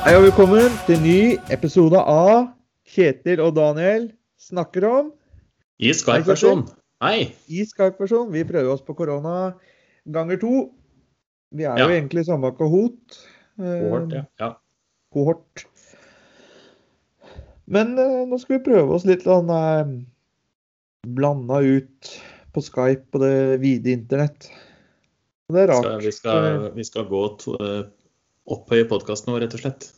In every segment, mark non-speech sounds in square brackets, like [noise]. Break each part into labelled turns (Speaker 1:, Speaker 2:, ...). Speaker 1: Hei og velkommen til en ny episode av Kjetil og Daniel snakker om
Speaker 2: I Skype-versjon. Hei.
Speaker 1: i Skype-versjon. Vi prøver oss på korona ganger to. Vi er
Speaker 2: Ja.
Speaker 1: jo egentlig samme kohort. eh,
Speaker 2: Kohort, ja. ja.
Speaker 1: kohort. Men eh, nå skal vi prøve oss litt sånn eh, blanda ut på Skype og det vide internett. Og Det er rart. Eh.
Speaker 2: Skal, vi, skal, vi skal gå to, eh, opphøye podkasten vår, rett og slett.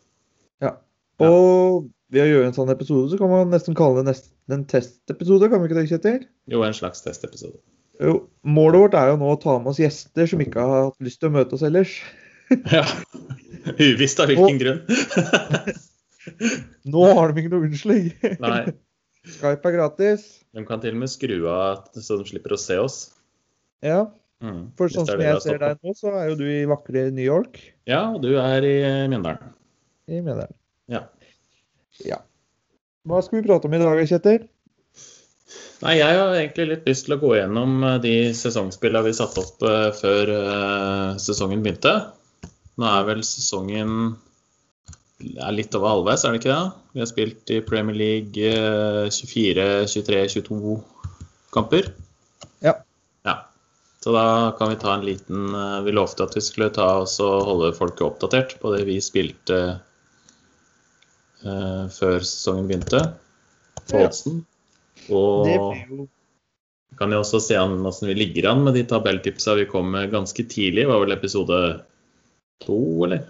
Speaker 2: Ja.
Speaker 1: Og ved å gjøre en sånn episode, så kan man nesten kalle det nesten en testepisode, kan vi ikke det, Kjetil?
Speaker 2: Jo, en slags
Speaker 1: [laughs]
Speaker 2: testepisode.
Speaker 1: Jo, målet vårt er jo nå å ta med oss gjester som ikke har hatt lyst til å møte oss ellers.
Speaker 2: Ja. Uvisst av hvilken grunn. [laughs]
Speaker 1: Nå har de ikke noe unnskyldning.
Speaker 2: Nei.
Speaker 1: [laughs] Skype er gratis.
Speaker 2: De kan til og med skru av så de slipper å se oss.
Speaker 1: Ja,
Speaker 2: Mm,
Speaker 1: for
Speaker 2: hvis
Speaker 1: sånn
Speaker 2: det er
Speaker 1: som jeg
Speaker 2: det det er
Speaker 1: ser
Speaker 2: stopp på.
Speaker 1: deg nå, så er jo du i vakre New York.
Speaker 2: Ja, og du er i eh, Mjøndalen.
Speaker 1: Jeg mener det.
Speaker 2: Ja.
Speaker 1: ja. Hva skal vi prate om i dag, Kjetil?
Speaker 2: Nei, jeg har egentlig litt lyst til å gå gjennom eh, de sesongspillene vi satte opp eh, før eh, sesongen begynte. Nå er vel sesongen det er litt over halvveis, er det ikke det? Vi har spilt i Premier League eh, 24, 23, 22 kamper.
Speaker 1: Ja.
Speaker 2: Ja. Så da kan vi ta en liten eh, Vi lovte at vi skulle ta oss og holde folket oppdatert på det vi spilte eh, før sesongen begynte. På
Speaker 1: Ja.
Speaker 2: Oddsen.
Speaker 1: Det
Speaker 2: Og
Speaker 1: blir jo
Speaker 2: vi kan jo også se an hvordan vi ligger an med de tabelltipsa vi kom med ganske tidlig. Det var vel episode to, eller?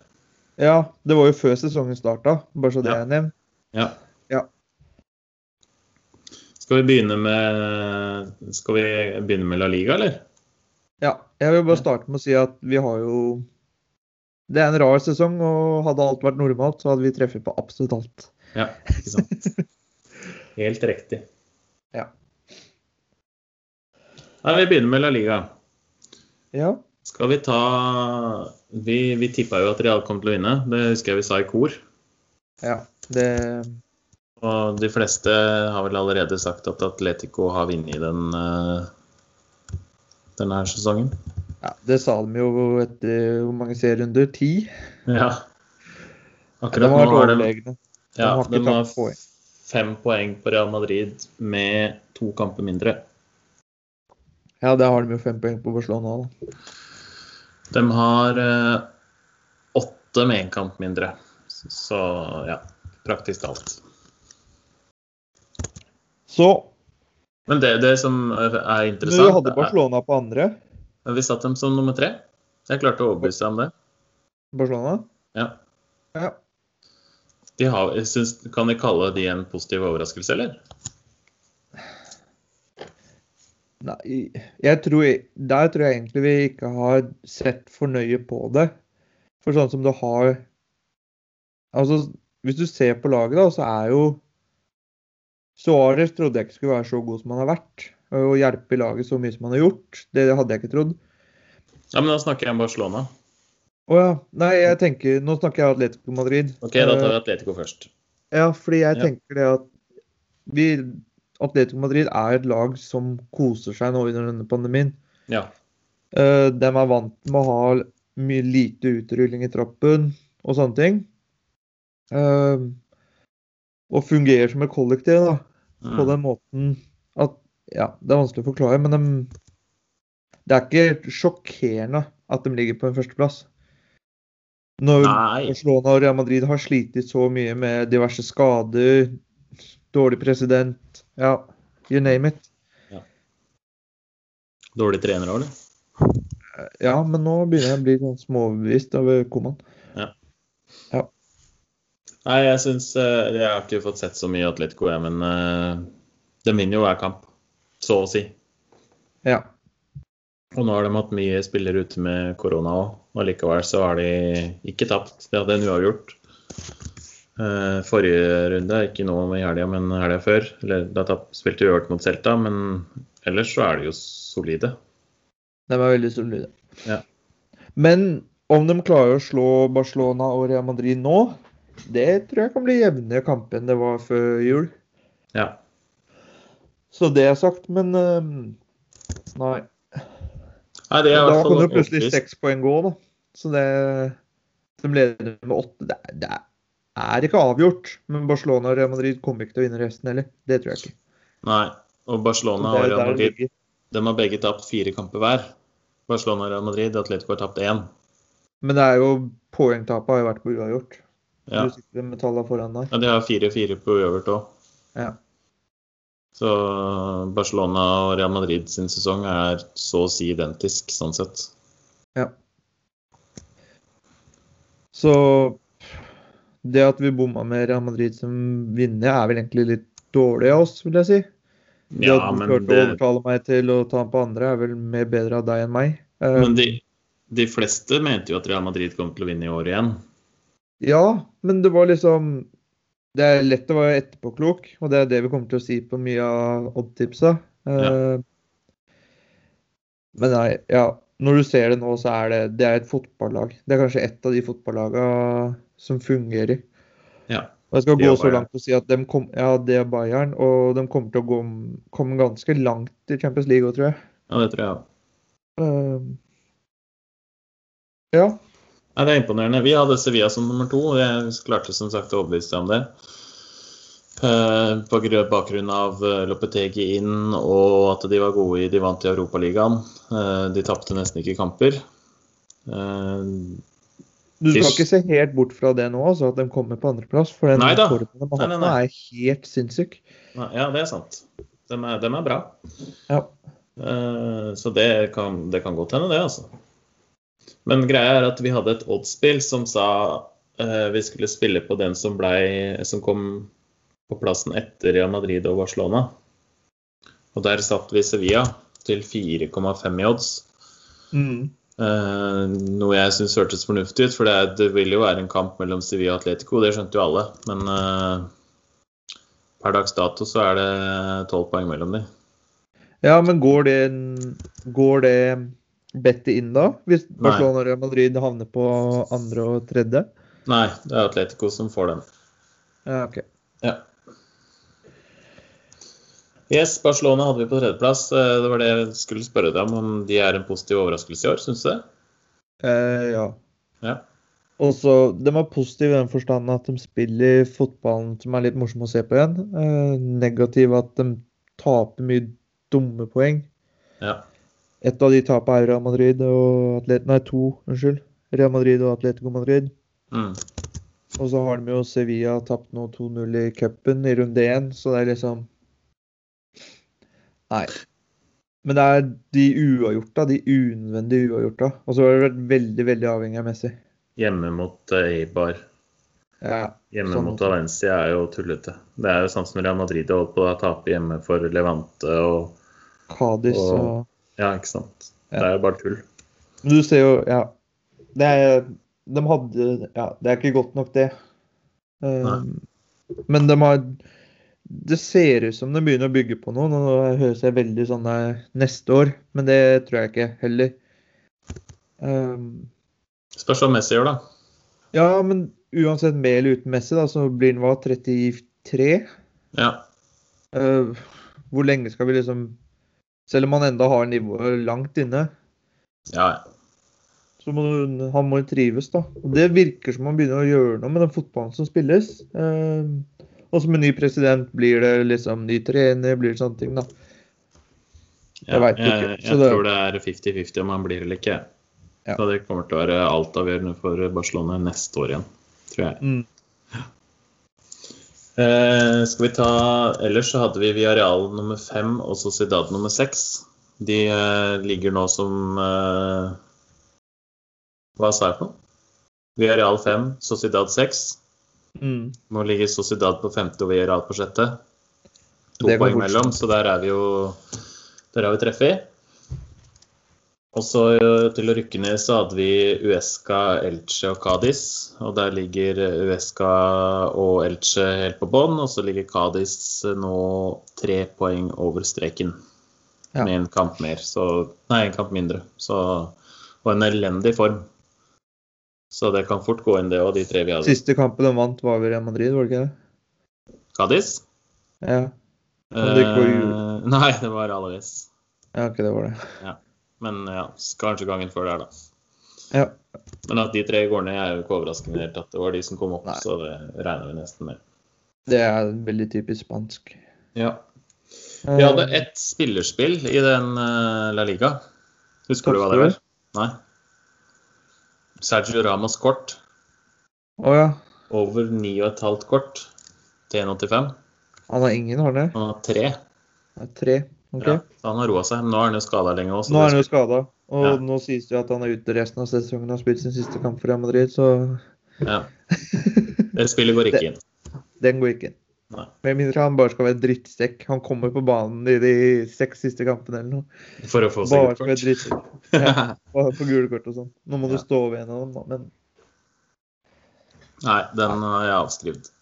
Speaker 1: Ja, det var jo før sesongen starta, bare så det
Speaker 2: Ja.
Speaker 1: er nevnt.
Speaker 2: Ja.
Speaker 1: Ja.
Speaker 2: Skal vi begynne med Skal vi begynne med La Liga, eller?
Speaker 1: Ja, jeg vil
Speaker 2: Ja.
Speaker 1: bare starte med å si at vi har jo Det er en rar sesong, og hadde alt vært normalt, så hadde vi treffet på absolutt alt.
Speaker 2: Ja, ikke sant. Helt riktig.
Speaker 1: Ja.
Speaker 2: Nei, vi begynner med La Liga.
Speaker 1: Ja,
Speaker 2: Skal vi ta Vi, vi tippa jo at Real kom til å vinne. Det husker jeg vi sa i kor.
Speaker 1: ja. Det
Speaker 2: Og de fleste har vel allerede sagt at Atletico har vunnet den, eh, denne her sesongen.
Speaker 1: Ja, det sa de jo etter hvor mange serierunder? Ti?
Speaker 2: Ja.
Speaker 1: De
Speaker 2: Akkurat
Speaker 1: har
Speaker 2: nå
Speaker 1: vært
Speaker 2: har de,
Speaker 1: overlegne.
Speaker 2: ja,
Speaker 1: har ikke
Speaker 2: de har
Speaker 1: tatt poeng.
Speaker 2: fem poeng på Real Madrid med to kamper mindre.
Speaker 1: Ja, der har de jo fem poeng på Barcelona. Da.
Speaker 2: De har eh, åtte med én kamp mindre. Så ja, praktisk alt.
Speaker 1: Så
Speaker 2: Men det, det som er
Speaker 1: du
Speaker 2: interessant
Speaker 1: hadde Barcelona på andre.
Speaker 2: er, Vi satte dem som nummer tre. Jeg klarte å overbevise deg om det.
Speaker 1: Barcelona?
Speaker 2: Ja.
Speaker 1: Ja.
Speaker 2: De har, jeg synes, kan vi kalle de en positiv overraskelse, eller?
Speaker 1: Nei, jeg tror, der tror jeg egentlig vi ikke har sett for nøye på det. For sånn som du har Altså, hvis du ser på laget, da, så er jo Suárez trodde jeg ikke skulle være så god som han har vært. Og hjelpe i laget så mye som han har gjort. Det hadde jeg ikke trodd.
Speaker 2: Ja, men da snakker jeg om Barcelona.
Speaker 1: Å ja. Nei, jeg tenker Nå snakker jeg Atletico Madrid.
Speaker 2: Ok, da tar
Speaker 1: Eh,
Speaker 2: vi Atletico først.
Speaker 1: Ja, fordi jeg
Speaker 2: Ja.
Speaker 1: tenker det at vi Atletico Madrid er et lag som koser seg nå under denne pandemien.
Speaker 2: Ja.
Speaker 1: Eh, De er vant med å ha mye lite utrulling i trappen og sånne ting. Eh, Og fungerer som et kollektiv, da. På
Speaker 2: Mm.
Speaker 1: den måten at Ja, det er vanskelig å forklare, men de, det er ikke sjokkerende at de ligger på en førsteplass. Når
Speaker 2: Nei.
Speaker 1: Barcelona og Real Madrid har slitt så mye med diverse skader, dårlig president, ja, you name it.
Speaker 2: Dårlig trener òg, eller?
Speaker 1: Ja, men nå begynner jeg å bli sånn småoverbevist over Koman.
Speaker 2: Nei, jeg syns eh, Jeg har ikke fått sett så mye Atletico, jeg, men eh, de vinner jo hver kamp. Så å si.
Speaker 1: Ja.
Speaker 2: Og nå har de hatt mye spillere ute med korona òg, og likevel så har de ikke tapt. De hadde en uavgjort. Eh, forrige runde, ikke nå i helga, men helga før. Eller da tap- spilte de uavgjort mot Celta, men ellers så er de jo solide.
Speaker 1: De er veldig solide.
Speaker 2: Ja.
Speaker 1: Men om de klarer å slå Barcelona og Real Madrid nå, det tror jeg kan bli jevnere kamp enn det var før jul.
Speaker 2: Ja.
Speaker 1: Så det er sagt, men ehm, Nei.
Speaker 2: Nei, det er i
Speaker 1: Da
Speaker 2: hvert
Speaker 1: kan
Speaker 2: fall
Speaker 1: det plutselig
Speaker 2: overbevist.
Speaker 1: seks poeng gå, da. Så det De leder med åtte. Det, er- det, er- er ikke avgjort. Men Barcelona og Real Madrid kommer ikke til å vinne resten heller. Det tror jeg ikke.
Speaker 2: Nei. Og
Speaker 1: Så
Speaker 2: Barcelona og
Speaker 1: det er
Speaker 2: Real
Speaker 1: der det
Speaker 2: Madrid
Speaker 1: ligger.
Speaker 2: de har begge tapt fire kamper hver. Barcelona og Real Madrid, Atletico har tapt én.
Speaker 1: Men det er jo poengtapet har jo vært på uavgjort.
Speaker 2: Ja.
Speaker 1: Du sitter med tallene foran deg.
Speaker 2: ja, de har fire-fire på uøvert òg.
Speaker 1: Ja.
Speaker 2: Så Barcelona og Real Madrid sin sesong er så å si identisk, sånn sett.
Speaker 1: Så det at vi bomma med Real Madrid som vinner, er vel egentlig litt dårlig av oss, vil jeg si. Det
Speaker 2: Ja,
Speaker 1: at du
Speaker 2: men
Speaker 1: klarte å
Speaker 2: det,
Speaker 1: overtale meg til å ta den på andre, er vel mer bedre av deg enn meg. Eh,
Speaker 2: men de, de fleste mente jo at Real Madrid kom til å vinne i år igjen.
Speaker 1: Ja, men det var liksom Det er lett å være etterpåklok, og det er det vi kommer til å si på mye av oddtipsa. Eh, Men nei, ja. Når du ser det nå, så er det, det er et fotballag. Det er kanskje ett av de fotballaga som fungerer.
Speaker 2: Ja.
Speaker 1: Og jeg skal
Speaker 2: Det
Speaker 1: gå
Speaker 2: og
Speaker 1: så
Speaker 2: Bayern.
Speaker 1: langt og si at de kom, ja, det er Bayern, og de kommer til å gå, komme ganske langt i Champions League òg, tror jeg.
Speaker 2: Ja, det tror jeg òg.
Speaker 1: Eh, ja.
Speaker 2: Nei, Det er imponerende. Vi hadde Sevilla som nummer to, og jeg klarte som sagt å overbevise deg om det. Eh, På grø- bakgrunn av eh, Lopetegi inn og at de var gode i De vant i Europaligaen. Eh, De tapte nesten ikke kamper. Eh,
Speaker 1: Du skal
Speaker 2: Fisk.
Speaker 1: ikke se helt bort fra det nå, altså, at de kommer på andreplass. For den
Speaker 2: Neida.
Speaker 1: formen de har
Speaker 2: Nei, nei,
Speaker 1: hatt nå,
Speaker 2: nei.
Speaker 1: er helt sinnssyk.
Speaker 2: Nei, ja, det er sant. De er, dem er bra.
Speaker 1: Ja.
Speaker 2: Eh, så det kan, det kan godt hende, det, altså. Men greia er at vi hadde et oddsspill som sa eh, vi skulle spille på den som, blei, som kom på plassen etter Real Madrid og Barcelona. Og der satt vi Sevilla til 4,5 i odds. Mm. Eh, noe jeg syns hørtes fornuftig ut, for det, er- det vil jo være en kamp mellom Sevilla og Atletico, det skjønte jo alle. Men eh, per dags dato så er det tolv poeng mellom de.
Speaker 1: Ja, men går det, går det bettet inn da? Hvis Barcelona og Real Madrid havner på andre og tredje?
Speaker 2: Nei, det er Atletico som får den.
Speaker 1: Ja, ok.
Speaker 2: Ja. Yes, Barcelona hadde vi på tredjeplass. Eh, Det var det jeg skulle spørre deg om, om de er en positiv overraskelse i år, syns du det?
Speaker 1: Eh, ja.
Speaker 2: Ja.
Speaker 1: Og så, De er positive i den forstand at de spiller fotballen som er litt morsom å se på igjen. Eh, negativ at de taper mye dumme poeng.
Speaker 2: Ja.
Speaker 1: Ett av de tapene er Real Madrid og Atlet... Nei, to, unnskyld. Real Madrid og Atletico Madrid.
Speaker 2: Mm.
Speaker 1: Og så har de jo Sevilla tapt nå 2-0 i cupen i runde én, så det er liksom Nei. Men det er de uavgjorta, de unødvendige uavgjorta. Og så har det vært veldig, veldig avhengig av Messi.
Speaker 2: Hjemme mot eh, Eibar.
Speaker 1: Ja.
Speaker 2: Hjemme
Speaker 1: Sånn.
Speaker 2: mot Valencia er jo tullete. Det er jo sånn som Real Madrid har holdt på å tape hjemme for Levante og
Speaker 1: Kadis og
Speaker 2: Og- Ja, ikke sant.
Speaker 1: Ja.
Speaker 2: Det er jo bare tull.
Speaker 1: Men du ser jo Ja. Det er De hadde Ja, det er ikke godt nok, det. Eh,
Speaker 2: Nei.
Speaker 1: men de har Det ser ut som de begynner å bygge på noe. Nå høres jeg veldig sånn eh, neste år, men det tror jeg ikke heller. Eh,
Speaker 2: Spørs hva Messi gjør, da.
Speaker 1: Ja, men uansett med eller uten Messi, da, så blir han hva, 33?
Speaker 2: Ja.
Speaker 1: Eh, hvor lenge skal vi liksom Selv om han enda har nivået langt inne,
Speaker 2: ja.
Speaker 1: så må du, han må jo trives, da. Og det virker som han begynner å gjøre noe med den fotballen som spilles. Eh, og som en ny president blir det liksom ny trener, blir det sånne ting, da.
Speaker 2: ja.
Speaker 1: Jeg vet ikke,
Speaker 2: Jeg,
Speaker 1: så
Speaker 2: jeg
Speaker 1: det-
Speaker 2: tror det er 50-50 om han blir eller ikke.
Speaker 1: Ja.
Speaker 2: Så det kommer til å være altavgjørende for Barcelona neste år igjen, tror jeg.
Speaker 1: Mm.
Speaker 2: Eh, skal vi ta Ellers så hadde vi Villarreal nummer fem og Sociedad nummer seks. De eh, ligger nå som eh, Hva sa jeg for noe? Villarreal fem, Sociedad seks.
Speaker 1: Mm.
Speaker 2: Nå ligger Sociedad på femte og Villarreal på sjette. To
Speaker 1: Det går
Speaker 2: poeng
Speaker 1: fort.
Speaker 2: mellom, så der er vi jo Der har vi treffet. Og så eh, til å rykke ned så hadde vi Uesca, Elche og Cádiz. Og der ligger Uesca og Elche helt på bånn, og så ligger Cádiz eh, nå tre poeng over streken.
Speaker 1: Ja.
Speaker 2: Med en kamp mer, så Nei, en kamp mindre. Så Og en elendig form. Så det kan fort gå inn, det òg, de tre vi hadde.
Speaker 1: Siste kampen de vant, var ved Real Madrid, var det ikke det?
Speaker 2: Cádiz?
Speaker 1: Ja, Om det ikke var jul.
Speaker 2: Eh, [laughs] Nei, det var Alaves.
Speaker 1: ja ok, det var det.
Speaker 2: Men ja, kanskje gangen før der, da.
Speaker 1: Ja.
Speaker 2: Men at de tre går ned, er jo ikke overraskende i det hele tatt. Det var de som kom opp,
Speaker 1: Nei.
Speaker 2: så det regner vi nesten med.
Speaker 1: Det er veldig typisk spansk.
Speaker 2: Ja. Vi hadde ett spillerspill i den eh, La Liga. Husker du hva det var? Nei. Sergio Ramos kort.
Speaker 1: Ehm, Å ja.
Speaker 2: Over 9,5 kort til 1,85.
Speaker 1: Han har ingen, har han det?
Speaker 2: Han har tre.
Speaker 1: Han har Tre? OK.
Speaker 2: Ja, så han har roa seg. Men nå er han jo skada lenge òg.
Speaker 1: Nå er han jo skada, og
Speaker 2: Ja.
Speaker 1: nå sies det jo at han er ute resten av sesongen og har spilt sin siste kamp for Real Madrid, så
Speaker 2: Ja. Det spillet går ikke inn.
Speaker 1: den går ikke inn.
Speaker 2: Nei.
Speaker 1: Med mindre han bare skal være drittsekk. Han kommer på banen i de seks siste kampene eller noe.
Speaker 2: For å få seg
Speaker 1: Bare
Speaker 2: et
Speaker 1: skal være
Speaker 2: kort.
Speaker 1: drittsekk.
Speaker 2: [laughs] Ja.
Speaker 1: Og på gule kort og sånn. Nå må
Speaker 2: Ja.
Speaker 1: du stå over en av dem, da. Men
Speaker 2: Nei, den har jeg avskrevet.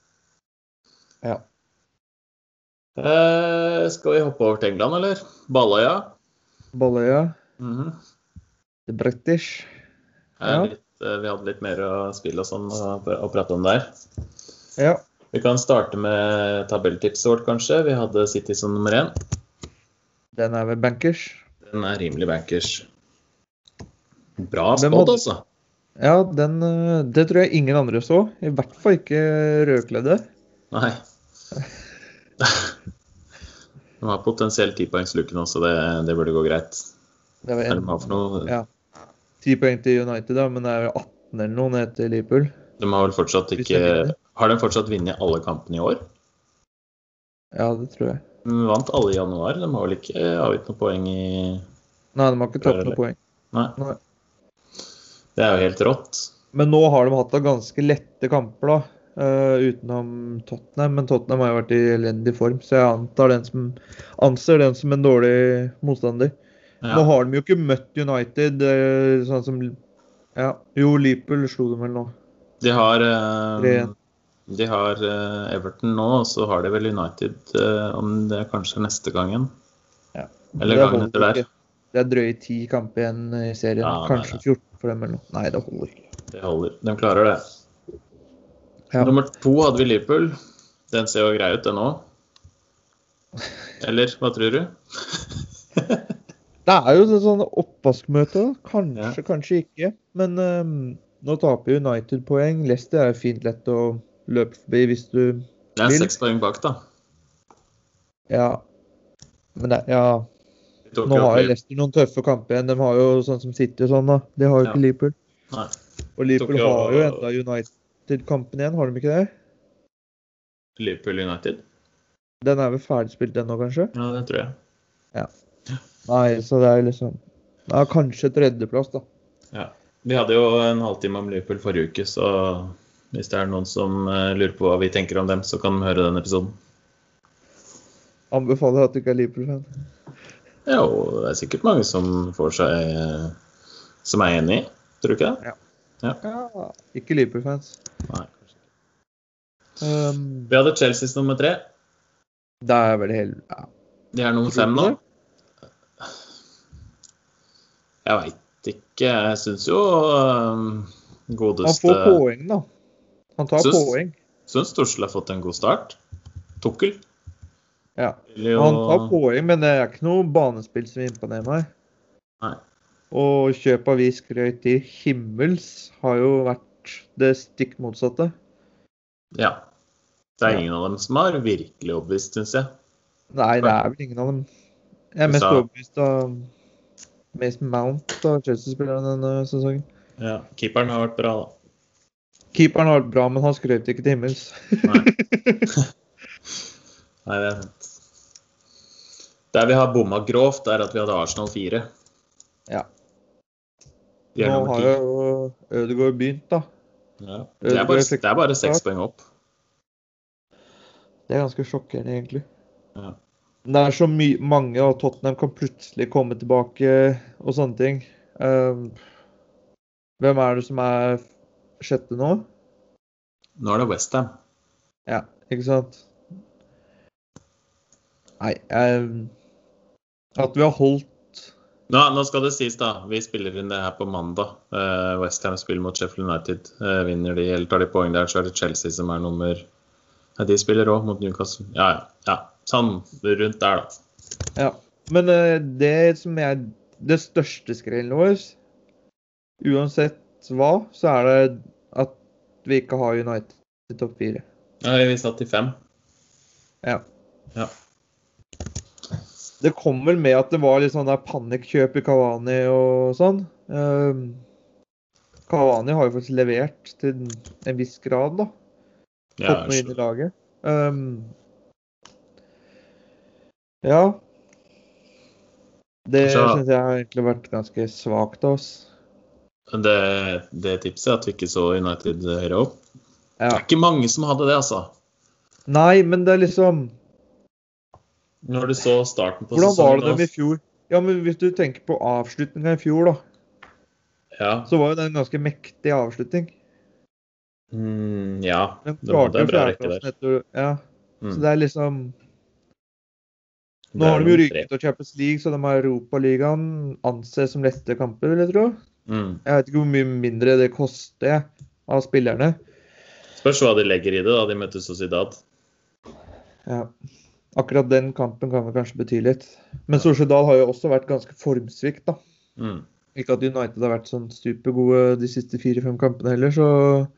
Speaker 1: Ja.
Speaker 2: Eh, skal vi hoppe over til England, eller? Balløya.
Speaker 1: Balløya,
Speaker 2: Mhm.
Speaker 1: the British
Speaker 2: Det
Speaker 1: Ja.
Speaker 2: er litt, eh, vi hadde litt mer å spille og sånn og og prate om der.
Speaker 1: Ja.
Speaker 2: Vi kan starte med tabelltipset vårt, kanskje. Vi hadde City som nummer én.
Speaker 1: Den er vel bankers.
Speaker 2: Den er rimelig bankers. Bra
Speaker 1: Hvem
Speaker 2: spådd,
Speaker 1: hadde-
Speaker 2: altså.
Speaker 1: Ja, den, eh, det tror jeg ingen andre så. I hvert fall ikke rødkledde.
Speaker 2: Nei. [laughs] De har potensielt tipoengsluken også, det, det burde gå greit.
Speaker 1: Det var
Speaker 2: Hva er
Speaker 1: en
Speaker 2: det de har for noe?
Speaker 1: Ja. ti poeng til United, da, men det er jo 18 eller noe ned til Liverpool.
Speaker 2: De har vel fortsatt
Speaker 1: Hvis
Speaker 2: ikke
Speaker 1: de vinner.
Speaker 2: Har de fortsatt vunnet alle kampene i år?
Speaker 1: Ja, det tror jeg.
Speaker 2: De vant alle i januar. De har vel ikke eh, avgitt noen poeng i
Speaker 1: Nei, de har ikke tatt
Speaker 2: Eller-
Speaker 1: noe poeng.
Speaker 2: Nei.
Speaker 1: Nei.
Speaker 2: Det er jo helt rått.
Speaker 1: Men nå har de hatt da ganske lette kamper, da. eh, utenom Tottenham. Men Tottenham har jo vært i elendig form, så jeg antar den som, anser den som en dårlig motstander. Nå
Speaker 2: Ja.
Speaker 1: har de jo ikke møtt United, eh, sånn som ja. Jo, Liverpool slo dem vel nå.
Speaker 2: De har, eh,
Speaker 1: Tre-
Speaker 2: de har eh, Everton nå, og så har de vel United eh, om det er kanskje neste gangen.
Speaker 1: Ja.
Speaker 2: Eller
Speaker 1: Det
Speaker 2: gangen
Speaker 1: holder
Speaker 2: etter der.
Speaker 1: ikke. Det er drøye ti kamper igjen i serien.
Speaker 2: Ja, nei,
Speaker 1: Kanskje
Speaker 2: nei.
Speaker 1: 14 for dem eller noe. Nei, det holder ikke.
Speaker 2: Det holder. De klarer det.
Speaker 1: Ja.
Speaker 2: Nummer to hadde vi Liverpool. Den ser jo grei ut, den òg. Eller hva tror du?
Speaker 1: Det er jo sånn- sånn oppvaskmøte. da. Kanskje, kanskje ikke. Men ehm, nå taper United poeng. Leicester er jo fint lett å løpe forbi hvis du
Speaker 2: Det er
Speaker 1: Vil.
Speaker 2: seks poeng bak, da.
Speaker 1: Ja. Men det, ja,
Speaker 2: Vi tok
Speaker 1: nå
Speaker 2: jo opp
Speaker 1: har jo
Speaker 2: Liverpool.
Speaker 1: Leicester noen tøffe kamper igjen. De har jo sånn som City og sånn, da. De har jo
Speaker 2: Ja.
Speaker 1: ikke Liverpool.
Speaker 2: Nei.
Speaker 1: Og Liverpool
Speaker 2: Tok jo-
Speaker 1: har jo enda United-kampen igjen, har de ikke det?
Speaker 2: Liverpool United.
Speaker 1: Den er vel ferdigspilt den nå, kanskje?
Speaker 2: Ja, det tror jeg.
Speaker 1: Nei, så det er liksom Ja, kanskje tredjeplass, da.
Speaker 2: Vi hadde jo en halvtime om Liverpool forrige uke, så hvis det er noen som eh, lurer på hva vi tenker om dem, så kan de høre den episoden.
Speaker 1: Anbefaler at du ikke er Liverpool-fan.
Speaker 2: Ja, og det er sikkert mange som får seg eh, Som er enig, tror du ikke det?
Speaker 1: Ja. Ikke Liverpool-fans.
Speaker 2: Nei.
Speaker 1: Um,
Speaker 2: Vi hadde Chelsea som nummer tre.
Speaker 1: det er vel helt ja.
Speaker 2: De er nummer
Speaker 1: Tror
Speaker 2: fem
Speaker 1: du
Speaker 2: nå.
Speaker 1: det?
Speaker 2: Jeg veit ikke. Jeg syns jo øhm,
Speaker 1: Han
Speaker 2: godeste
Speaker 1: får poeng, da. Han tar
Speaker 2: Syns-
Speaker 1: poeng.
Speaker 2: Syns Tussel har fått en god start. Tukkel.
Speaker 1: Ja.
Speaker 2: Vil jo
Speaker 1: Han tar poeng, men det er ikke noe banespill som imponerer meg.
Speaker 2: Nei.
Speaker 1: Og kjøp av vi skrøt til himmels har jo vært det stikk motsatte.
Speaker 2: Ja. Det er ingen av dem som har virkelig overbevist, syns jeg.
Speaker 1: Nei, det er vel ingen av dem. Jeg er mest
Speaker 2: Så-
Speaker 1: overbevist av Mason Mount av Chelsea-spillerne denne sesongen.
Speaker 2: Ja. Keeperen har vært bra, da.
Speaker 1: Keeperen har vært bra, men han skrøt ikke til himmels.
Speaker 2: Nei, det er sant. Der vi har bomma grovt, er at vi hadde Arsenal 4.
Speaker 1: Ja.
Speaker 2: De er
Speaker 1: Nå
Speaker 2: nummer
Speaker 1: har
Speaker 2: 10.
Speaker 1: jo Ødegaard begynt, da.
Speaker 2: Ja. Det er bare- det er bare seks poeng opp.
Speaker 1: Det er ganske sjokkerende, egentlig.
Speaker 2: Ja.
Speaker 1: Det er så my mange, og Tottenham kan plutselig komme tilbake og sånne ting. Ehm, hvem er det som er sjette nå?
Speaker 2: Nå er det Westham.
Speaker 1: Ja, ikke sant? Nei ehm, At vi har holdt
Speaker 2: Nå, nå skal det sies, da. Vi spiller inn det her på mandag. Uh, Westham spiller mot Sheffield United. Eh, vinner de eller tar de poeng der, så er det Chelsea som er nummer Nei, de spiller òg mot Newcastle. Ja, ja. ja. Sånn rundt der, da.
Speaker 1: Ja. Men uh, eh, det som er det største skrellet vårt, uansett hva, så er det at vi ikke har United i topp fire.
Speaker 2: Ja, vi satt i fem.
Speaker 1: Ja.
Speaker 2: Ja.
Speaker 1: Det kom vel med at det var litt sånn der panikkjøp i Kavani og sånn. Ehm, Cavani har jo faktisk levert til en viss grad, da.
Speaker 2: Ja,
Speaker 1: Fått noe inn i laget. Ehm, ja. Det
Speaker 2: Så-
Speaker 1: syns jeg har egentlig vært ganske svakt av oss.
Speaker 2: det, det tipset, at vi ikke så United høyere opp. Det
Speaker 1: Ja.
Speaker 2: er ikke mange som hadde det, altså.
Speaker 1: Nei, men det er liksom
Speaker 2: Når du så starten på
Speaker 1: Hvordan var det
Speaker 2: sesongen
Speaker 1: dem i fjor? Ja, men Hvis du tenker på avslutninga i fjor, da.
Speaker 2: Ja.
Speaker 1: Så var jo det en ganske mektig avslutning.
Speaker 2: Mm, ja.
Speaker 1: Den
Speaker 2: Det var
Speaker 1: klarte
Speaker 2: det
Speaker 1: jo
Speaker 2: bra rekke
Speaker 1: fjerdeplassen
Speaker 2: der.
Speaker 1: etter Ja. Så
Speaker 2: Mm.
Speaker 1: det er liksom Nå
Speaker 2: Det er
Speaker 1: har de jo
Speaker 2: nummer
Speaker 1: ryket til Champions League, så de har Europaligaen anses som lette kamper, vil jeg tro.
Speaker 2: tre. Mm.
Speaker 1: Jeg vet ikke hvor mye mindre det koster jeg, av spillerne.
Speaker 2: Spørs hva de legger i det, da. De møter Sociedad.
Speaker 1: Ja. Akkurat den kampen kan vel kanskje bety litt. Men Solskjedal har jo også vært ganske formsvikt, da.
Speaker 2: Mm.
Speaker 1: Ikke at United har vært sånn supergode de siste fire-fem kampene heller, så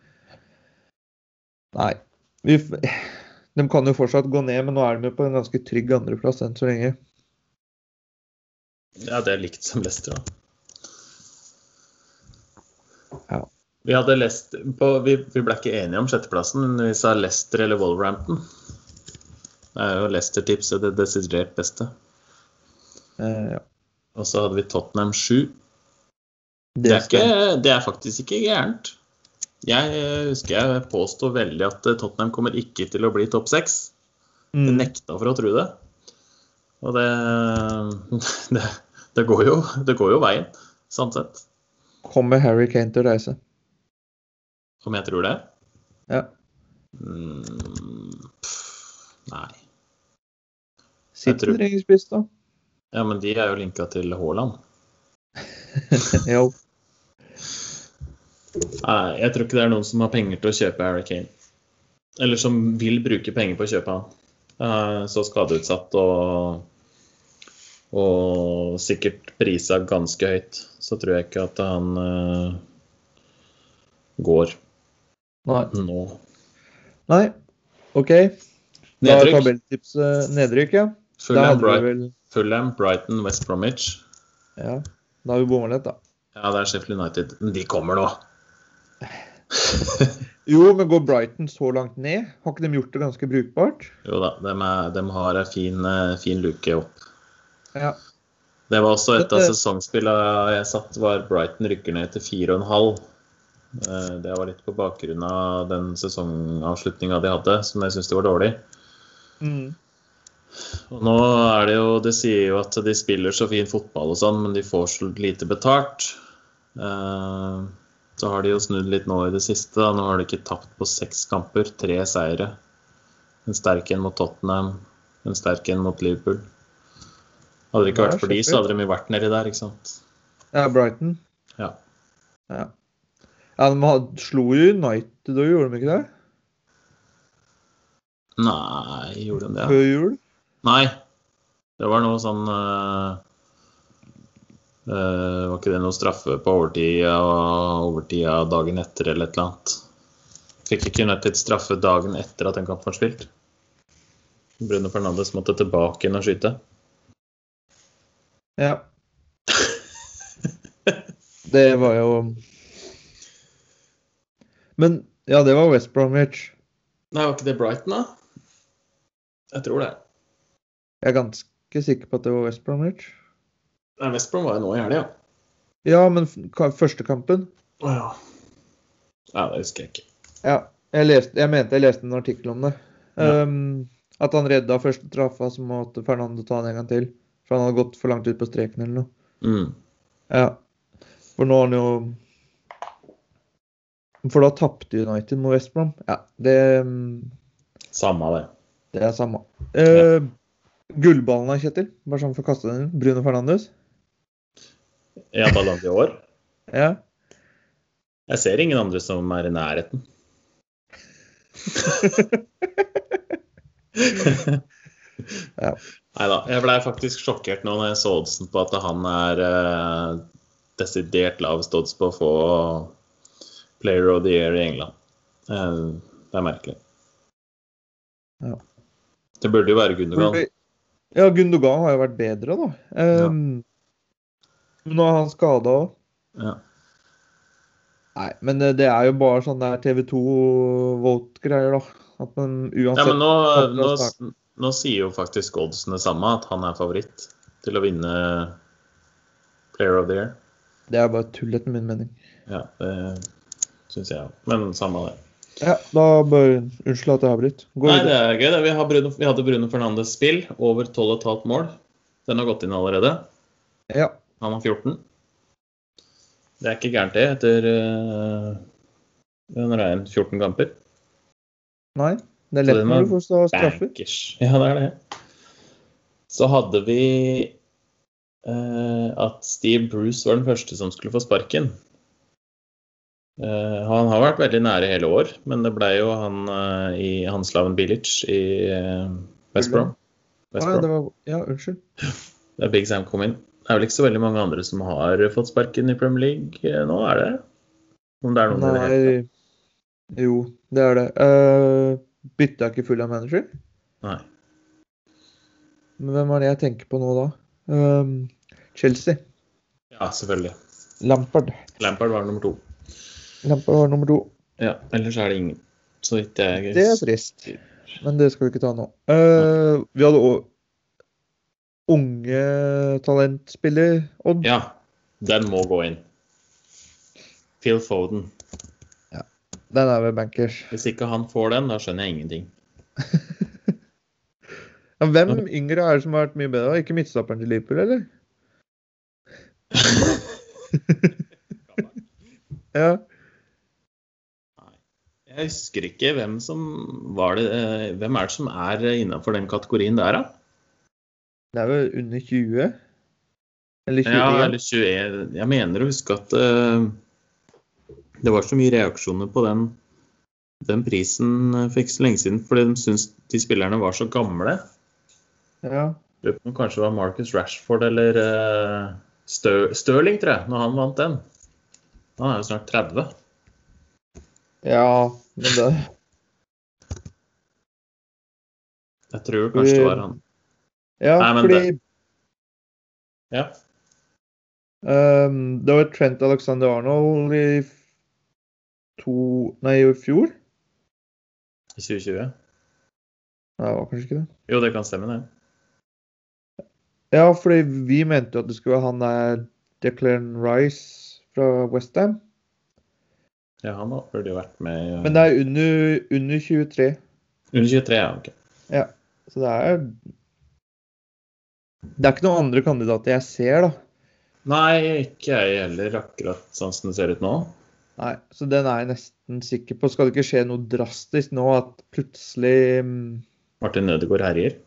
Speaker 1: Nei. Vi f... De kan jo fortsatt gå ned, men nå er de jo på en ganske trygg andreplass enn så lenge.
Speaker 2: Ja, det er likt som Leicester, da.
Speaker 1: Ja.
Speaker 2: Vi, hadde Leicester på, vi, vi ble ikke enige om sjetteplassen, men vi sa Leicester eller Wolverhampton. Det er jo Leicester-tipset det desidert beste.
Speaker 1: Eh, ja.
Speaker 2: Og så hadde vi Tottenham 7.
Speaker 1: Det
Speaker 2: Det er, ikke,
Speaker 1: skal-
Speaker 2: det er faktisk ikke gærent. Jeg eh, husker jeg påsto veldig at eh, Tottenham kommer ikke til å bli topp seks. Jeg
Speaker 1: mm.
Speaker 2: nekta for å tro det. Og det Det, [laughs] det, går, jo, det går jo veien, sånn sett.
Speaker 1: Kommer Harry Kane til å reise?
Speaker 2: Om jeg tror det?
Speaker 1: Ja.
Speaker 2: Mm, pff, nei.
Speaker 1: City
Speaker 2: tror-
Speaker 1: trenger spiss, da.
Speaker 2: Ja, men de er jo linka til Haaland.
Speaker 1: jo.
Speaker 2: Nei, Eh, jeg tror ikke det er noen som har penger til å kjøpe Harry Kane. Eller som vil bruke penger på å kjøpe han. Eh, Så skadeutsatt og og sikkert prisa ganske høyt. Så tror jeg ikke at han eh, går
Speaker 1: Nei.
Speaker 2: nå.
Speaker 1: Nei. OK. Da er
Speaker 2: Nedrykk.
Speaker 1: tabelltipset nedrykk, ja. Da
Speaker 2: Fulham,
Speaker 1: hadde vi
Speaker 2: Brighton,
Speaker 1: vel
Speaker 2: Fulham, Brighton, West Bromwich.
Speaker 1: Ja. Da har vi bomma litt, da.
Speaker 2: Ja, det er Sheffield United. Men de kommer nå.
Speaker 1: Jo, men går Brighton så langt ned? Har ikke de gjort det ganske brukbart?
Speaker 2: Jo da, de, er, dem har ei fin, eh, fin luke opp.
Speaker 1: Ja.
Speaker 2: Det var også et av
Speaker 1: Dette-
Speaker 2: sesongspillene jeg satt, var Brighton rykker ned til 4,5. Eh, Det var litt på bakgrunn av den sesongavslutninga de hadde, som jeg syns var dårlig.
Speaker 1: Mm.
Speaker 2: Og nå er det jo Det sier jo at de spiller så fin fotball og sånn, men de får så lite betalt. Eh, Så har de jo snudd litt nå i det siste. Da. Nå har de ikke tapt på seks kamper. Tre seire. En sterk en mot Tottenham, en sterk en mot Liverpool. Hadde det ikke
Speaker 1: Ja,
Speaker 2: vært for de, så
Speaker 1: Sheffield.
Speaker 2: hadde de jo vært nedi der, ikke sant.
Speaker 1: Ja, Brighton.
Speaker 2: Ja.
Speaker 1: Ja, ja de had- slo jo United og gjorde de ikke det?
Speaker 2: Nei, gjorde de det?
Speaker 1: Før jul?
Speaker 2: Nei. Det var noe sånn eh, eh, Var ikke det noe straffe på overtid og overtida dagen etter eller et eller annet? Fikk ikke United straffe dagen etter at den kampen var spilt? Bruno Fernandes måtte tilbake inn og skyte.
Speaker 1: Ja.
Speaker 2: [laughs]
Speaker 1: Det var jo Men ja, det var West Bromwich.
Speaker 2: Nei, var ikke det Brighton, da? Jeg tror det.
Speaker 1: Jeg er ganske sikker på at det var West Bromwich.
Speaker 2: Nei, West Brom var jo nå i helga.
Speaker 1: Ja, men f- ka- første kampen
Speaker 2: Å ja. Nei, det husker jeg ikke.
Speaker 1: Ja. Jeg, leste, jeg mente jeg leste en artikkel om det.
Speaker 2: Ja.
Speaker 1: Um, at han redda første traffa, så måtte Fernando ta den en gang til. For han hadde gått for langt ut på streken eller noe.
Speaker 2: Mm.
Speaker 1: Ja. For nå har han jo For da tapte United mot West Brom. Ja, det,
Speaker 2: Samme det.
Speaker 1: det er samme. Eh, Gullballen da, Kjetil. Bare sånn for å kaste den inn. Bruno Fernandes.
Speaker 2: Ja, Ballon i år.
Speaker 1: Ja.
Speaker 2: Jeg ser ingen andre som er i nærheten.
Speaker 1: Ja.
Speaker 2: Nei da. Jeg blei faktisk sjokkert nå når jeg så oddsen på at han er eh, desidert lavest odds på å få player of the year i England. Eh, Det er merkelig.
Speaker 1: Ja.
Speaker 2: Det burde jo være Gundergan.
Speaker 1: Fordi- Ja, Gundogan har jo vært bedre, da. Ehm, Men Nå er han skada òg.
Speaker 2: Ja.
Speaker 1: Nei, men det det er jo bare sånn der TV2 Vote-greier, da. At man
Speaker 2: Ja,
Speaker 1: uansett
Speaker 2: men nå,
Speaker 1: Takk
Speaker 2: nå,
Speaker 1: for oss,
Speaker 2: nå sier jo faktisk oddsen det samme, at han er favoritt til å vinne Player of the Year.
Speaker 1: Det er bare tull, etter min mening.
Speaker 2: Ja, det syns jeg òg. Men samme det.
Speaker 1: Ja, da bør Unnskyld at jeg avbryter. Gå
Speaker 2: Nei,
Speaker 1: videre.
Speaker 2: det er gøy. det. Vi, har Bruno, vi hadde Bruno Fernandes spill, over 12,5 mål. Den har gått inn allerede.
Speaker 1: Ja.
Speaker 2: Han har 14. Det er ikke gærent, det, etter eh, når det er en 14 kamper.
Speaker 1: Nei. Det er
Speaker 2: Så
Speaker 1: lett
Speaker 2: den
Speaker 1: når
Speaker 2: var
Speaker 1: du får stå straffer.
Speaker 2: Bankers. Ja, det er det. Så hadde vi eh, at Steve Bruce var den første som skulle få sparken. Eh, han har vært veldig nære hele år, men det blei jo han eh, i Hanslaven Bilic i eh, West Brom. West
Speaker 1: Å, ja,
Speaker 2: Brom.
Speaker 1: det var... ja, unnskyld.
Speaker 2: Da Big Sam kom inn. Det er vel ikke så veldig mange andre som har fått sparken i Premier League eh, nå, er det? Om det er noen i det hele tatt.
Speaker 1: Nei Jo, det er det. Uh, bytta ikke full av manager?
Speaker 2: Nei.
Speaker 1: Men hvem er det jeg tenker på nå, da? Ehm, Chelsea.
Speaker 2: Ja, selvfølgelig.
Speaker 1: Lampard.
Speaker 2: Lampard var nummer to.
Speaker 1: Lampard var nummer to.
Speaker 2: Ja, ellers er det ingen. Så vidt jeg
Speaker 1: Det er trist. Men det skal vi ikke ta nå. Eh, vi hadde òg unge talentspiller Odd.
Speaker 2: Ja, den må gå inn. Phil Foden.
Speaker 1: Den er vel bankers.
Speaker 2: Hvis ikke han får den, da skjønner jeg ingenting.
Speaker 1: Ja, hvem yngre er det som har vært mye bedre? Ikke midtstopperen til Liverpool, eller? Ja.
Speaker 2: Jeg husker ikke hvem som var det eh, Hvem er det som er innafor den kategorien der, da?
Speaker 1: Det er vel under 20? Eller 21?
Speaker 2: Ja, eller 21. Jeg mener å huske at eh, det var så mye reaksjoner på den, den prisen eh, for ikke så lenge siden, fordi de syntes de spillerne var så gamle.
Speaker 1: ja.
Speaker 2: Lurer på om kanskje det var Marcus Rashford eller eh, Stø- Stirling, tror jeg, når han vant den. Han er jo snart 30.
Speaker 1: Ja, men det
Speaker 2: Jeg tror kanskje det var han.
Speaker 1: Ja,
Speaker 2: Nei, men
Speaker 1: fordi
Speaker 2: Ja.
Speaker 1: ehm, det var Trent Alexander Arnold i f- to Nei, i fjor?
Speaker 2: I 2020.
Speaker 1: Nei, det var kanskje ikke det.
Speaker 2: Jo, det kan stemme, det.
Speaker 1: Ja, fordi vi mente jo at det skulle være han der Declan Rice fra Westham.
Speaker 2: Ja, han da burde jo vært med i eh,
Speaker 1: Men det er under, under 23,
Speaker 2: Under 23, ja. ok.
Speaker 1: så det er Det er ikke noen andre kandidater jeg ser, da.
Speaker 2: Nei, ikke jeg heller, akkurat sånn som det ser ut nå.
Speaker 1: Nei, så den er jeg nesten sikker på. Skal det ikke skje noe drastisk nå at plutselig mm,
Speaker 2: Martin Nødegaard herjer.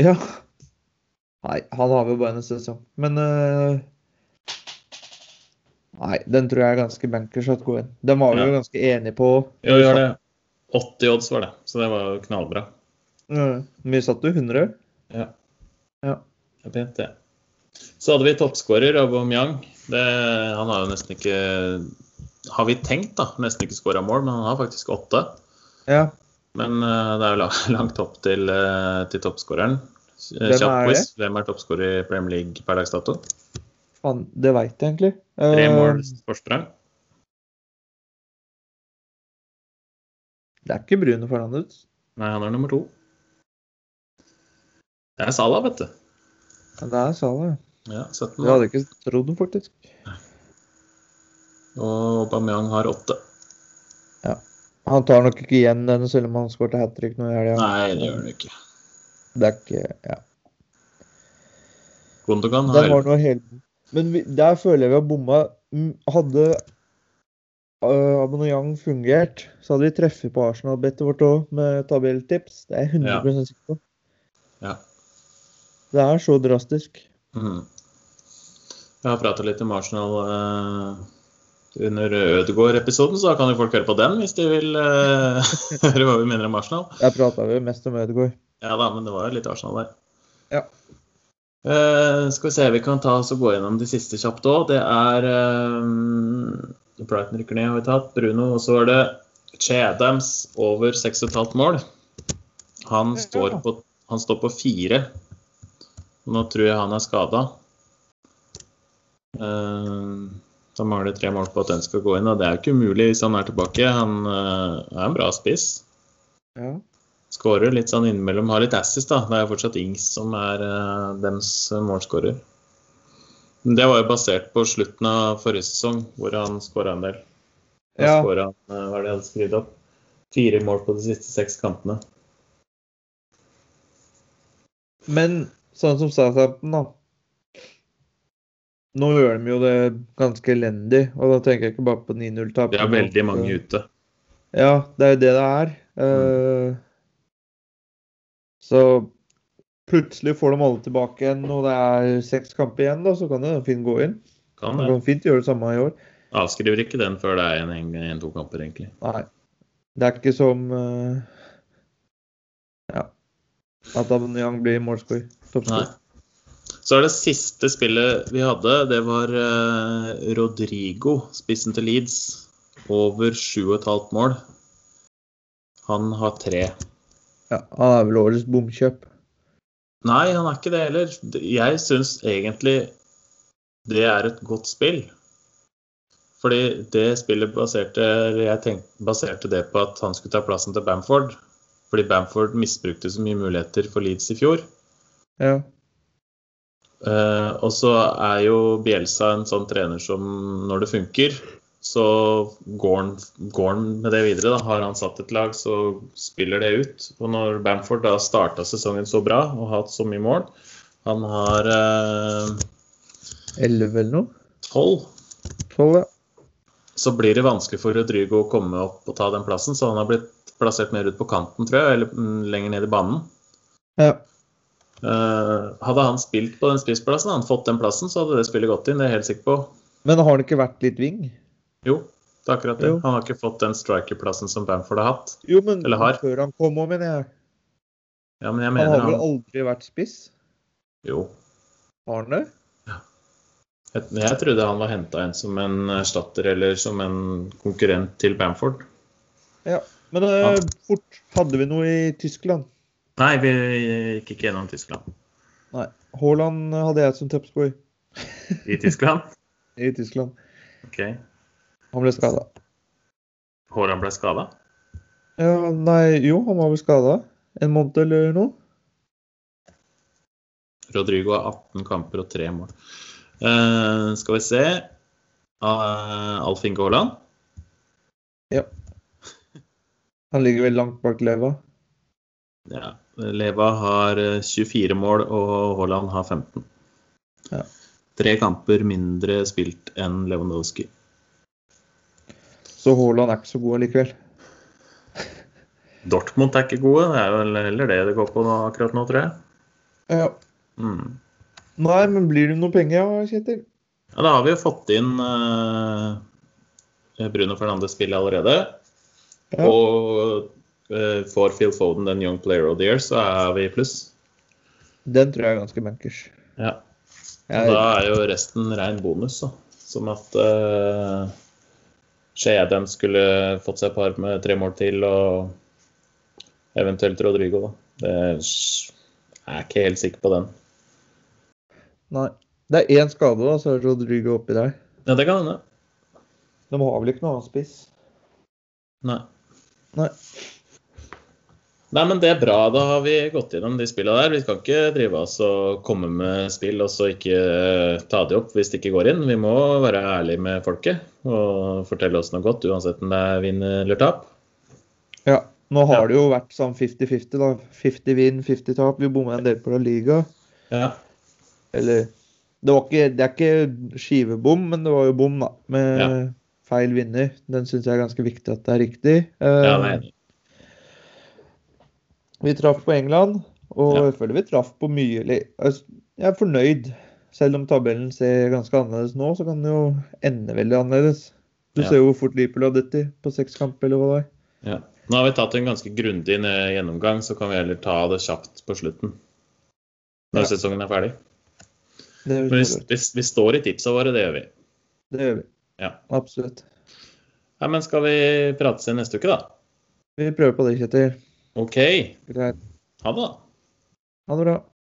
Speaker 1: Ja. Nei, han har vel bare en sesong. Men eh, Nei, den tror jeg er ganske bankers at går inn. Den var vi jo ganske enige på.
Speaker 2: Jo, gjør det. 80 odds var det, så det var jo knallbra.
Speaker 1: Eh, Vi satt jo 100.
Speaker 2: Ja.
Speaker 1: Ja.
Speaker 2: Det er pent, det. Så hadde vi toppskårer Aubameyang. Det, han har jo nesten ikke Har vi tenkt, da. Nesten ikke skåra mål, men han har faktisk åtte.
Speaker 1: ja.
Speaker 2: Men eh, det er jo la- [laughs] langt opp til, eh, til toppskåreren.
Speaker 1: Hvem
Speaker 2: Eh, Kjapp
Speaker 1: er
Speaker 2: quiz. Hvem er toppskårer i Premier League per dags dato?
Speaker 1: Faen, det veit jeg egentlig.
Speaker 2: Tre
Speaker 1: Eh,
Speaker 2: mål forsprang.
Speaker 1: Det er ikke Bruno Fernandes.
Speaker 2: Nei, han er nummer to. Det er Salah, vet du.
Speaker 1: Men det er Salah.
Speaker 2: Ja, 17
Speaker 1: Det
Speaker 2: mål.
Speaker 1: hadde jeg ikke trodd, faktisk.
Speaker 2: Og Aubameyang har åtte.
Speaker 1: Han tar nok ikke igjen den, selv om han skåret hat trick nå i helga.
Speaker 2: Nei, det gjør han ikke.
Speaker 1: Det er ikke Ja.
Speaker 2: Gundogan har
Speaker 1: Den var
Speaker 2: elleve.
Speaker 1: noe helt... Men vi, der føler jeg vi har bomma. Mm, Hadde uh, Abonnoyang fungert, så hadde vi treffet på Arsenal-bettet vårt òg, med tabelltips. Det er jeg 100 sikker på.
Speaker 2: Ja.
Speaker 1: Det er så drastisk.
Speaker 2: Mhm. Jeg har prata litt om Arsenal eh, under Ødegaard-episoden, så da kan jo folk høre på den hvis de vil eh, [laughs] høre hva vi mener om Arsenal.
Speaker 1: Der prata vi jo mest om Ødegaard.
Speaker 2: Ja da, men det var jo litt Arsenal der.
Speaker 1: Ja.
Speaker 2: Eh, skal vi se, vi kan ta oss og gå gjennom de siste kjapt òg. Det er eh, Brighton rykker ned, har vi tatt. Bruno. Og så er det Che Adams over 6,5 mål. Han
Speaker 1: Ja.
Speaker 2: står på, han står på fire. Nå tror jeg han er skada. Eh, Da mangler det tre mål på at den skal gå inn. Og det er jo ikke umulig hvis han er tilbake. Han eh, er en bra spiss.
Speaker 1: Ja.
Speaker 2: Skårer litt sånn innimellom. Har litt assist, da. Det er jo fortsatt Ings som er eh, dems målskårer. Men det var jo basert på slutten av forrige sesong, hvor han skåra en del. Da
Speaker 1: Ja.
Speaker 2: skåra han, eh, hva er det jeg hadde skrevet opp, fire mål på de siste seks kampene.
Speaker 1: Men sånn som Southampton, da. Nå gjør de jo det ganske elendig, og da tenker jeg ikke bare på 9-0-tap.
Speaker 2: De har veldig mange ute.
Speaker 1: Ja, det er jo det det er. Eh, Så plutselig får de alle tilbake igjen, og det er seks kamper igjen, da, så kan det fint gå inn.
Speaker 2: Kan
Speaker 1: De
Speaker 2: det.
Speaker 1: kan fint gjøre det samme i år.
Speaker 2: Avskriver ikke den før det er en- en- en-to kamper, egentlig.
Speaker 1: Nei. Det er ikke som eh, Ja. At Abnyang blir målscorer.
Speaker 2: Nei.
Speaker 1: toppscorer.
Speaker 2: Så er det siste spillet vi hadde, det var eh, Rodrigo, spissen til Leeds. Over 7,5 mål. Han har tre.
Speaker 1: Ja, han er vel årets bomkjøp.
Speaker 2: Nei, han er ikke det heller. Jeg syns egentlig det er et godt spill. Fordi det spillet baserte eller Jeg tenkte, baserte det på at han skulle ta plassen til Bamford. Fordi Bamford misbrukte så mye muligheter for Leeds i fjor.
Speaker 1: Ja.
Speaker 2: Eh, og så er jo Bielsa en sånn trener som når det funker, så går han, går han med det videre. Da. Har han satt et lag, så spiller det ut. Og når Bamford da starta sesongen så bra og hatt så mye mål Han har eh,
Speaker 1: Elleve eller noe.
Speaker 2: tolv.
Speaker 1: Tolv, ja.
Speaker 2: så blir det vanskelig for Rodrigo å komme opp og ta den plassen. Så han har blitt plassert mer ut på kanten, tror jeg, eller mm, lenger ned i banen.
Speaker 1: ja.
Speaker 2: Eh, hadde han spilt på den spissplassen, hadde han fått den plassen, så hadde det spillet gått inn. Det er jeg helt sikker på.
Speaker 1: Men har han ikke vært litt wing?
Speaker 2: Jo, det er akkurat det.
Speaker 1: Jo.
Speaker 2: Han har ikke fått den strikerplassen som Bamford har hatt.
Speaker 1: Jo, men
Speaker 2: Eller har.
Speaker 1: før han kom òg, mener jeg.
Speaker 2: Ja, men jeg
Speaker 1: Han
Speaker 2: mener
Speaker 1: har vel
Speaker 2: han
Speaker 1: aldri vært spiss?
Speaker 2: Jo.
Speaker 1: Har han det?
Speaker 2: Jeg, jeg trodde han var henta inn som en erstatter eller som en konkurrent til Bamford.
Speaker 1: Men eh, fort. Hadde vi noe i Tyskland?
Speaker 2: Nei, vi gikk ikke gjennom Tyskland.
Speaker 1: Nei. Haaland hadde jeg som toppscorer
Speaker 2: I [laughs] Tyskland?
Speaker 1: i Tyskland.
Speaker 2: OK.
Speaker 1: Han ble skada.
Speaker 2: Håran ble skada?
Speaker 1: Ja, nei, jo, han var vel skada en måned eller noe.
Speaker 2: Rodrigo har 18 kamper og 3 mål. Eh, skal vi se Eh, Alf Inge Haaland.
Speaker 1: Han ligger vel langt bak leva.
Speaker 2: Ja. Leva har eh, 24 mål, og Haaland har 15.
Speaker 1: Ja.
Speaker 2: Tre kamper mindre spilt enn Lewandowski.
Speaker 1: Så Haaland er ikke så god allikevel.
Speaker 2: Dortmund er ikke gode. Det er vel heller det det går på nå, akkurat nå, tror jeg.
Speaker 1: Eh, Ja.
Speaker 2: Mm.
Speaker 1: Nei, men blir det noe penger, ja, Kjetil?
Speaker 2: Ja, da har vi jo fått inn eh, Bruno Fernandes spill allerede.
Speaker 1: Ja.
Speaker 2: Og eh, får Phil Foden den Young Player of the Year, så er vi i pluss.
Speaker 1: Den tror jeg er ganske bankers.
Speaker 2: Ja. Så
Speaker 1: Jeg,
Speaker 2: da er jo resten ren bonus, da. Som at uh, Skjeadem skulle fått seg et par med tre mål til, og eventuelt Rodrigo, da. Det jeg er ikke helt sikker på den.
Speaker 1: nei. Det er én skade, da, så er Rodrigo oppi der.
Speaker 2: Ja, det kan hende.
Speaker 1: De har vel ikke noe annen spiss?
Speaker 2: Nei.
Speaker 1: Nei.
Speaker 2: Nei, men det er bra. Da har vi gått gjennom de spillene der. Vi kan ikke drive oss og komme med spill og så ikke eh, ta de opp hvis det ikke går inn. Vi må være ærlige med folket og fortelle oss noe godt, uansett om det er vinn eller tap.
Speaker 1: Ja. Nå har
Speaker 2: Ja.
Speaker 1: det jo vært sånn 50-50, da. 50 vinn, 50 tap. Vi bomma en del på La Liga.
Speaker 2: Ja.
Speaker 1: Eller det, var ikke, det er ikke skivebom, men det var jo bom, da. Med
Speaker 2: Ja.
Speaker 1: feil vinner. Den syns jeg er ganske viktig at det er riktig.
Speaker 2: Ja,
Speaker 1: Eh,
Speaker 2: nei.
Speaker 1: vi traff på England, og
Speaker 2: Ja.
Speaker 1: jeg føler vi traff på mye. eller- altså, Jeg er fornøyd. Selv om tabellen ser ganske annerledes nå, så kan den jo ende veldig annerledes. Du
Speaker 2: Ja.
Speaker 1: ser jo hvor fort Liverpool har dødd i på seks kamper, eller hva det er.
Speaker 2: Ja. Nå har vi tatt en ganske grundig eh, gjennomgang, så kan vi heller ta det kjapt på slutten. Når
Speaker 1: Ja.
Speaker 2: sesongen er ferdig.
Speaker 1: Det,
Speaker 2: Men vi, vi, vi står i tipsa våre, det gjør vi.
Speaker 1: det gjør vi.
Speaker 2: Ja.
Speaker 1: Absolutt.
Speaker 2: Nei, men skal vi prates igjen neste uke, da?
Speaker 1: Vi prøver på det, Kjetil.
Speaker 2: OK.
Speaker 1: Greit.
Speaker 2: Ha det, da.
Speaker 1: Ha det bra.